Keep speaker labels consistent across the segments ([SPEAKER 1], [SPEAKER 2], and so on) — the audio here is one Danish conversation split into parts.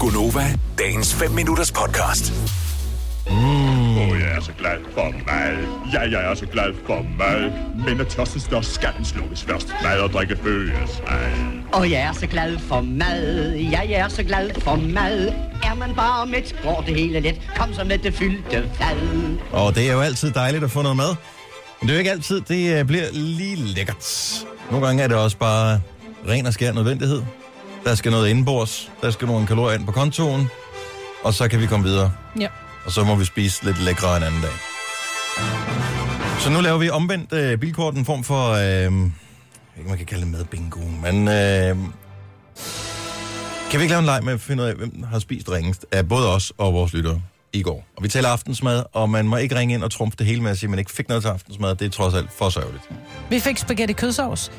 [SPEAKER 1] Gunova, dagens 5 minutters podcast.
[SPEAKER 2] Åh, oh, jeg er så glad for mad. Ja, jeg er så glad for mad. Men når tørsten størst, skal den slukkes først. Mad og drikke følges ad.
[SPEAKER 3] Og jeg er så glad for mad, ja, jeg er så glad for mad. Er man bare med, går det hele let. Kom så med det fyldte fad.
[SPEAKER 4] Og det er jo altid dejligt at få noget mad. Men det er jo ikke altid, det øh, bliver lige lækkert. Nogle gange er det også bare ren og skær nødvendighed. Der skal noget indenbords, der skal nogle kalorier ind på kontoen, og så kan vi komme videre.
[SPEAKER 5] Ja.
[SPEAKER 4] Og så må vi spise lidt lækre en anden dag. Så nu laver vi omvendt øh, bilkort, en form for, øh, jeg ved ikke, man kan kalde det med bingo, men øh, kan vi ikke lave en leg med at finde ud af, hvem har spist ringest af både os og vores lyttere i går? Og vi taler aftensmad, og man må ikke ringe ind og trumfe det hele med at sige, at man ikke fik noget til aftensmad. Det er trods alt for sørgeligt.
[SPEAKER 5] Vi fik spaghetti kødsovs,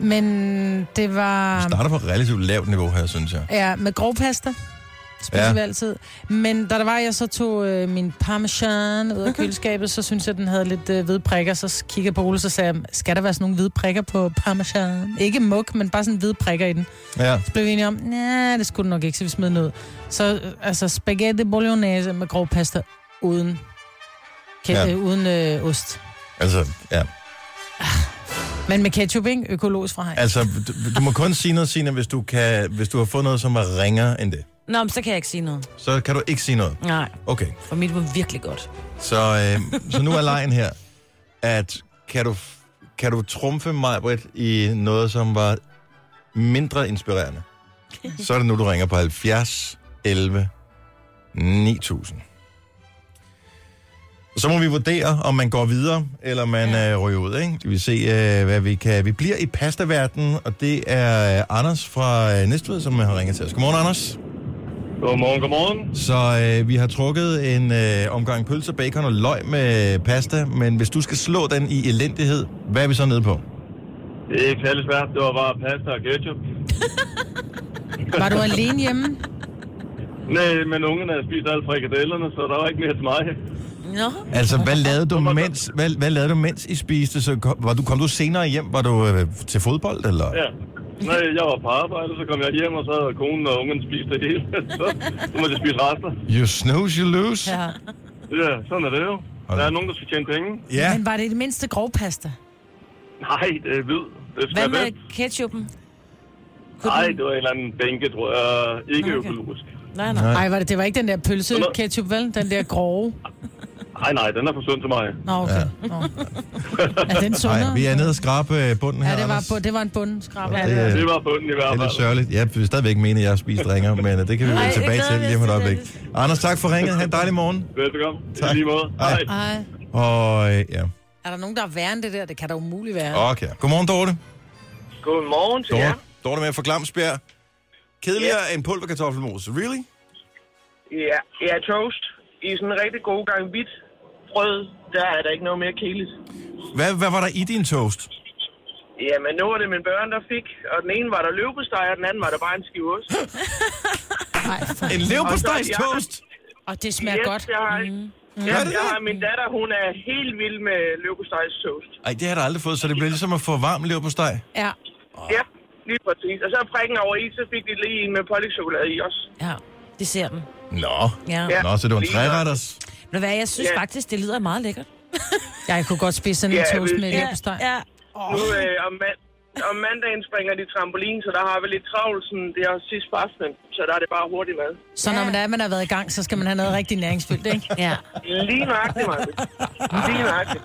[SPEAKER 5] men det var
[SPEAKER 4] Starter på et relativt lavt niveau her, synes jeg.
[SPEAKER 5] ja, med grovpasta. Spiser
[SPEAKER 4] Ja.
[SPEAKER 5] ja. vi altid. Men da der var, jeg så tog øh, min parmesan ud af køleskabet, så synes jeg, den havde lidt øh, hvide prikker. Så kiggede jeg på Ole, så sagde jeg, skal der være sådan nogle hvide prikker på parmesan? Ikke muk, men bare sådan hvide prikker i den.
[SPEAKER 4] Ja.
[SPEAKER 5] Så blev vi enige om, nej, det skulle den nok ikke, så vi smed den ud. Så øh, altså spaghetti bolognese med grovpasta uden, ke-
[SPEAKER 4] Ja.
[SPEAKER 5] ja. øh, uden øh, ost.
[SPEAKER 4] Altså, ja.
[SPEAKER 5] Men med ketchup, ikke? Økologisk fra Heinz.
[SPEAKER 4] Altså, du, du må kun sige noget, Signe, hvis du, kan, hvis du har fået noget, som er ringere end det.
[SPEAKER 6] Nå, men så kan jeg ikke sige noget.
[SPEAKER 4] Så kan du ikke sige noget.
[SPEAKER 6] Nej,
[SPEAKER 4] Okay,
[SPEAKER 6] for mit var virkelig godt.
[SPEAKER 4] så, øh, så nu er lejen her, at kan du, kan du trumfe mig, Britt, i noget, som var mindre inspirerende, så er det nu, du ringer på 70 11 9000. Og Så må vi vurdere, om man går videre, eller man øh, ryger ud. Ikke? Vi vil se, øh, hvad vi kan. Vi bliver i pastaverdenen, og det er øh, Anders fra øh, Næstved, som har ringet til os. Godmorgen, Anders.
[SPEAKER 7] Godmorgen, godmorgen.
[SPEAKER 4] Så øh, vi har trukket en øh, omgang pølse, bacon og løg med pasta, men hvis du skal slå den i elendighed, hvad er vi så nede på?
[SPEAKER 7] Det er ikke særlig svært. Det var bare pasta og ketchup.
[SPEAKER 5] Var du alene hjemme?
[SPEAKER 7] Nej, men ungerne har spist alle frikadellerne, så der var ikke mere til mig.
[SPEAKER 6] Nå,
[SPEAKER 4] Altså, hvad lavede du, mens, hvad, hvad lavede du, mens I spiste? Så kom, var du, kom du senere hjem? Var du øh, til fodbold, eller?
[SPEAKER 7] Ja. Nej, jeg var på arbejde, så kom jeg hjem, og så havde konen og ungerne spist det hele. så, så måtte jeg spise rester.
[SPEAKER 4] You snooze, you lose.
[SPEAKER 5] Ja.
[SPEAKER 7] Ja, sådan er det jo. Der er nogen, der skal tjene penge.
[SPEAKER 4] ja.
[SPEAKER 5] Men var det i det mindste grovpasta?
[SPEAKER 7] Nej, det er hvid. Det skal
[SPEAKER 6] hvad
[SPEAKER 7] være
[SPEAKER 6] med
[SPEAKER 7] bedst.
[SPEAKER 6] ketchupen? Kunne
[SPEAKER 7] Nej,
[SPEAKER 6] den-
[SPEAKER 7] det var en eller anden bænke, tror jeg. Ikke
[SPEAKER 6] Nå,
[SPEAKER 7] okay.
[SPEAKER 6] okay.
[SPEAKER 7] økologisk.
[SPEAKER 6] Nej, nej.
[SPEAKER 5] Nej, var det, det var ikke den der pølse
[SPEAKER 7] Eller-
[SPEAKER 5] ketchup, vel? Den der grove?
[SPEAKER 7] Nej, nej, den er for sund til mig.
[SPEAKER 5] Nå, okay. Ja. Nå. Er den sundere?
[SPEAKER 4] Nej, vi er nede og skrabe øh, bunden her,
[SPEAKER 5] Ja, det var,
[SPEAKER 4] Anders.
[SPEAKER 5] bu- det var en bundskrab. Ja,
[SPEAKER 4] det,
[SPEAKER 5] det
[SPEAKER 4] øh,
[SPEAKER 5] var.
[SPEAKER 7] Det var bunden i hvert
[SPEAKER 4] Det er lidt
[SPEAKER 7] fald.
[SPEAKER 4] sørgeligt. Jeg vil stadigvæk mene, at jeg har spist ringer, men øh, det kan vi
[SPEAKER 6] Ej,
[SPEAKER 4] vende
[SPEAKER 6] jeg
[SPEAKER 4] tilbage
[SPEAKER 6] glæder
[SPEAKER 4] til
[SPEAKER 6] mig
[SPEAKER 4] lige om et
[SPEAKER 6] til
[SPEAKER 4] øjeblik.
[SPEAKER 6] det.
[SPEAKER 4] Anders, tak for ringet. Ha' en dejlig morgen.
[SPEAKER 7] Velbekomme.
[SPEAKER 4] Tak.
[SPEAKER 7] I lige måde.
[SPEAKER 4] Hej.
[SPEAKER 7] Hej.
[SPEAKER 5] Ej,
[SPEAKER 4] Og øh, ja,
[SPEAKER 5] er der nogen, der er værre end det der? Det kan da umuligt være.
[SPEAKER 4] okay. Godmorgen, Dorte.
[SPEAKER 8] Godmorgen til
[SPEAKER 4] Dorte,
[SPEAKER 8] jer.
[SPEAKER 4] Dorte med fra Glamsbjerg. Kedeligere end pulverkartoffelmos. Really?
[SPEAKER 8] Ja, ja, toast. I sådan en rigtig god gang hvidt brød, der er der ikke noget mere kedeligt.
[SPEAKER 4] Hvad, hvad var der i din toast?
[SPEAKER 8] Jamen, nu var det mine børn, der fik, og den ene var der løbesteg, og den anden var der bare en skive ost.
[SPEAKER 5] Nej, for...
[SPEAKER 4] En leverpostejstoast?
[SPEAKER 5] Og det smager godt. Mm.
[SPEAKER 8] Jeg har, ja,
[SPEAKER 4] Gør det
[SPEAKER 8] jeg
[SPEAKER 4] det?
[SPEAKER 8] har min datter, hun er helt vild med løbestejstoast.
[SPEAKER 4] Ej, det har jeg da aldrig fået, så det bliver ligesom at få varm leverpostej.
[SPEAKER 5] Ja.
[SPEAKER 8] Ja, lige præcis. Og så prikken over i, så fik de lige en med pålægtschokolade i også.
[SPEAKER 6] Ja, det ser dem.
[SPEAKER 4] Nå.
[SPEAKER 6] Ja.
[SPEAKER 8] Ja.
[SPEAKER 4] Nå, så det var en
[SPEAKER 8] Lige nok.
[SPEAKER 4] træretters.
[SPEAKER 6] Ved du hvad, jeg synes
[SPEAKER 8] Ja.
[SPEAKER 6] faktisk, det lyder meget lækkert.
[SPEAKER 5] Jeg kunne godt spise sådan en
[SPEAKER 8] Ja, jeg
[SPEAKER 5] toast
[SPEAKER 8] vil-
[SPEAKER 5] med
[SPEAKER 8] Ja,
[SPEAKER 5] leverpostej.
[SPEAKER 6] ja.
[SPEAKER 8] Nu øh, om, mand- om mandagen springer de trampolin, så der har vi lidt travlt, sådan, det er sidst på aftenen, så der er det bare hurtigt mad.
[SPEAKER 5] Så når man er, man har været i gang, så skal man have noget rigtig næringsfyldt, ikke?
[SPEAKER 6] Ja.
[SPEAKER 8] Lige nøjagtigt, Marvind. Lige nøjagtigt.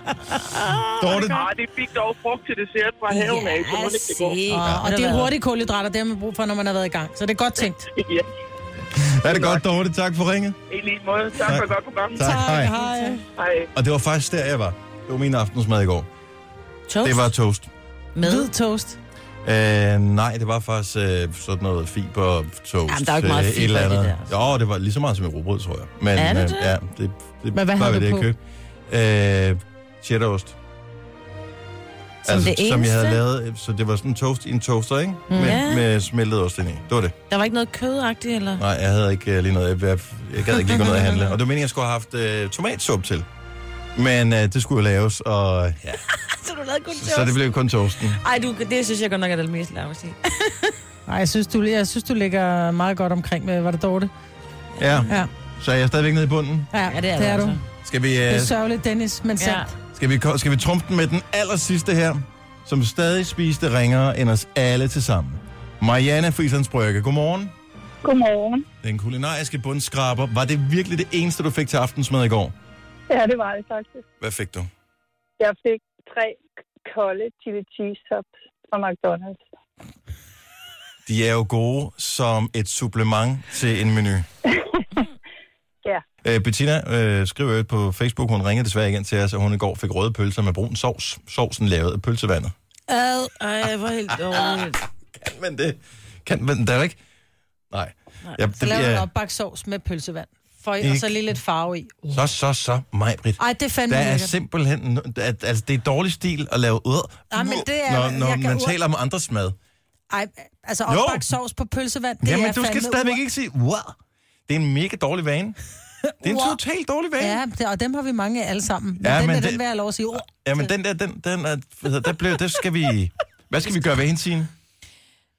[SPEAKER 4] Dorte,
[SPEAKER 8] Nej, det fik dog frugt til dessert fra haven af, så må det ikke gå.
[SPEAKER 5] Og, og det er hurtige kulhydrater, det har man brug for, når man har været i gang. Så det er godt tænkt.
[SPEAKER 8] Ja,
[SPEAKER 4] er det godt, Dorte? Tak for ringet.
[SPEAKER 8] i lige måde. Tak for
[SPEAKER 4] Tak.
[SPEAKER 8] et godt program.
[SPEAKER 4] Tak, hej.
[SPEAKER 5] Hej.
[SPEAKER 8] Hej.
[SPEAKER 4] Og det var faktisk der, jeg var. Det var min aftensmad i går.
[SPEAKER 6] Toast
[SPEAKER 4] Det var toast.
[SPEAKER 5] Hvid
[SPEAKER 6] med...
[SPEAKER 5] toast.
[SPEAKER 4] Øh, nej, det var faktisk øh, sådan noget fibertoast.
[SPEAKER 6] Jamen, der er jo ikke meget
[SPEAKER 4] øh, et
[SPEAKER 6] fiber
[SPEAKER 4] eller
[SPEAKER 6] i det
[SPEAKER 4] andet.
[SPEAKER 6] der,
[SPEAKER 4] Jo, det var lige så meget som i rugbrød, tror jeg. Men,
[SPEAKER 6] Er det
[SPEAKER 4] øh,
[SPEAKER 6] det?
[SPEAKER 4] Ja, det, det
[SPEAKER 5] Men hvad
[SPEAKER 4] var det,
[SPEAKER 5] havde du
[SPEAKER 4] jeg
[SPEAKER 5] på?
[SPEAKER 4] købte. Øh, cheddarost. Altså,
[SPEAKER 6] Som det
[SPEAKER 4] Som jeg havde
[SPEAKER 6] eneste?
[SPEAKER 4] lavet. øh, Så det var sådan en toast i en toaster, ikke? Mm. Med,
[SPEAKER 6] Ja.
[SPEAKER 4] med smeltet ost ind i. Det var det.
[SPEAKER 6] Der var ikke noget kødagtigt, eller?
[SPEAKER 4] Nej, jeg havde ikke øh, lige noget. Jeg, jeg, jeg gad ikke lige gå ned og handle. Og det var meningen, jeg skulle have haft øh, tomatsuppe til. Men øh, det skulle jo laves, og ja,
[SPEAKER 6] Så du lavede kun
[SPEAKER 4] så det blev kun toasten.
[SPEAKER 6] Ej, du, det synes jeg godt nok er det mest lavt at sige.
[SPEAKER 5] Nej, jeg synes, du, jeg synes, du ligger meget godt omkring med, var det Dorte?
[SPEAKER 4] Ja,
[SPEAKER 5] Ja,
[SPEAKER 4] så er jeg stadigvæk nede i bunden.
[SPEAKER 5] ja,
[SPEAKER 6] Ja,
[SPEAKER 5] det er, det er du.
[SPEAKER 6] altså.
[SPEAKER 4] Skal vi,
[SPEAKER 5] Det
[SPEAKER 4] øh,
[SPEAKER 5] er sørgeligt, Dennis, men
[SPEAKER 6] Ja.
[SPEAKER 5] sandt.
[SPEAKER 4] skal vi, ko- skal vi trumpe den med den aller sidste her, som stadig spiste ringere end os alle til sammen? Marianne Frisands Brygge, godmorgen.
[SPEAKER 9] Godmorgen.
[SPEAKER 4] Den kulinariske bundskraber, var det virkelig det eneste, du fik til aftensmad i går?
[SPEAKER 9] Ja, det var det faktisk.
[SPEAKER 4] Hvad fik du?
[SPEAKER 9] Jeg fik tre kolde chili cheese tops fra McDonald's.
[SPEAKER 4] De er jo gode som et supplement til en menu.
[SPEAKER 9] Ja.
[SPEAKER 4] Øh, Bettina øh, skriver jo på Facebook, hun ringede desværre igen til os, at hun i går fik røde pølser med brun sovs. Sovsen lavet af pølsevandet.
[SPEAKER 6] Ad, ej, hvor helt dårligt.
[SPEAKER 4] Kan man det? Kan man det er jo ikke? Nej. Nej. Ja, det,
[SPEAKER 5] Så laver du en
[SPEAKER 4] bliver,
[SPEAKER 5] opbagt sovs med pølsevand. For, og
[SPEAKER 4] Ikke-
[SPEAKER 5] så lige lidt farve i. Uh.
[SPEAKER 4] så, så, så, mig, Britt.
[SPEAKER 5] Ej, det er fandme
[SPEAKER 4] Der er
[SPEAKER 5] lækkert.
[SPEAKER 4] simpelthen... no- der er- Altså, det er dårlig stil at lave ud,
[SPEAKER 5] Nej, Ah, men det er-
[SPEAKER 4] når,
[SPEAKER 5] jeg
[SPEAKER 4] når
[SPEAKER 5] kan
[SPEAKER 4] man
[SPEAKER 5] ur-
[SPEAKER 4] taler om andres mad.
[SPEAKER 5] Ej, altså
[SPEAKER 4] Jo.
[SPEAKER 5] opbagt sovs på pølsevand, det
[SPEAKER 4] Jamen,
[SPEAKER 5] er
[SPEAKER 4] du skal
[SPEAKER 5] fandme
[SPEAKER 4] stadigvæk
[SPEAKER 5] ur-
[SPEAKER 4] ikke sige, wow. Det er en mega dårlig vane. Det er en
[SPEAKER 5] Wow.
[SPEAKER 4] totalt dårlig vane.
[SPEAKER 5] Ja, det, og dem har vi mange af alle sammen. Men
[SPEAKER 4] Ja,
[SPEAKER 5] ja, den,
[SPEAKER 4] men
[SPEAKER 5] men
[SPEAKER 4] det-
[SPEAKER 5] den vil jeg lov at sige. Uh.
[SPEAKER 4] Ja, men den der, den, den er, hvad hedder- der blev, der skal vi, hvad skal vi gøre ved hende, Signe?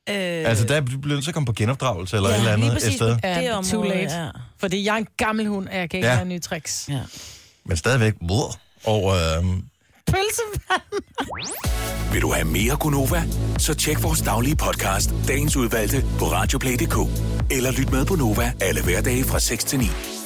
[SPEAKER 6] Øh,
[SPEAKER 4] Altså, der bliver nødt til at komme på genopdragelse eller ja, et eller
[SPEAKER 6] lige
[SPEAKER 4] andet et
[SPEAKER 6] præcis
[SPEAKER 4] sted.
[SPEAKER 6] på det
[SPEAKER 5] Ja,
[SPEAKER 6] område.
[SPEAKER 5] too late.
[SPEAKER 6] Ja.
[SPEAKER 5] Fordi jeg er en gammel hund, og jeg kan ikke
[SPEAKER 4] Ja.
[SPEAKER 5] ja. have nye tricks.
[SPEAKER 6] ja.
[SPEAKER 4] Men stadigvæk, wow, over, øhm,
[SPEAKER 5] Pølsevand!
[SPEAKER 1] Vil du have mere Gunova? Så tjek vores daglige podcast, dagens udvalgte, på radioplay.dk. Eller lyt med på Nova alle hverdage fra 6 til 9.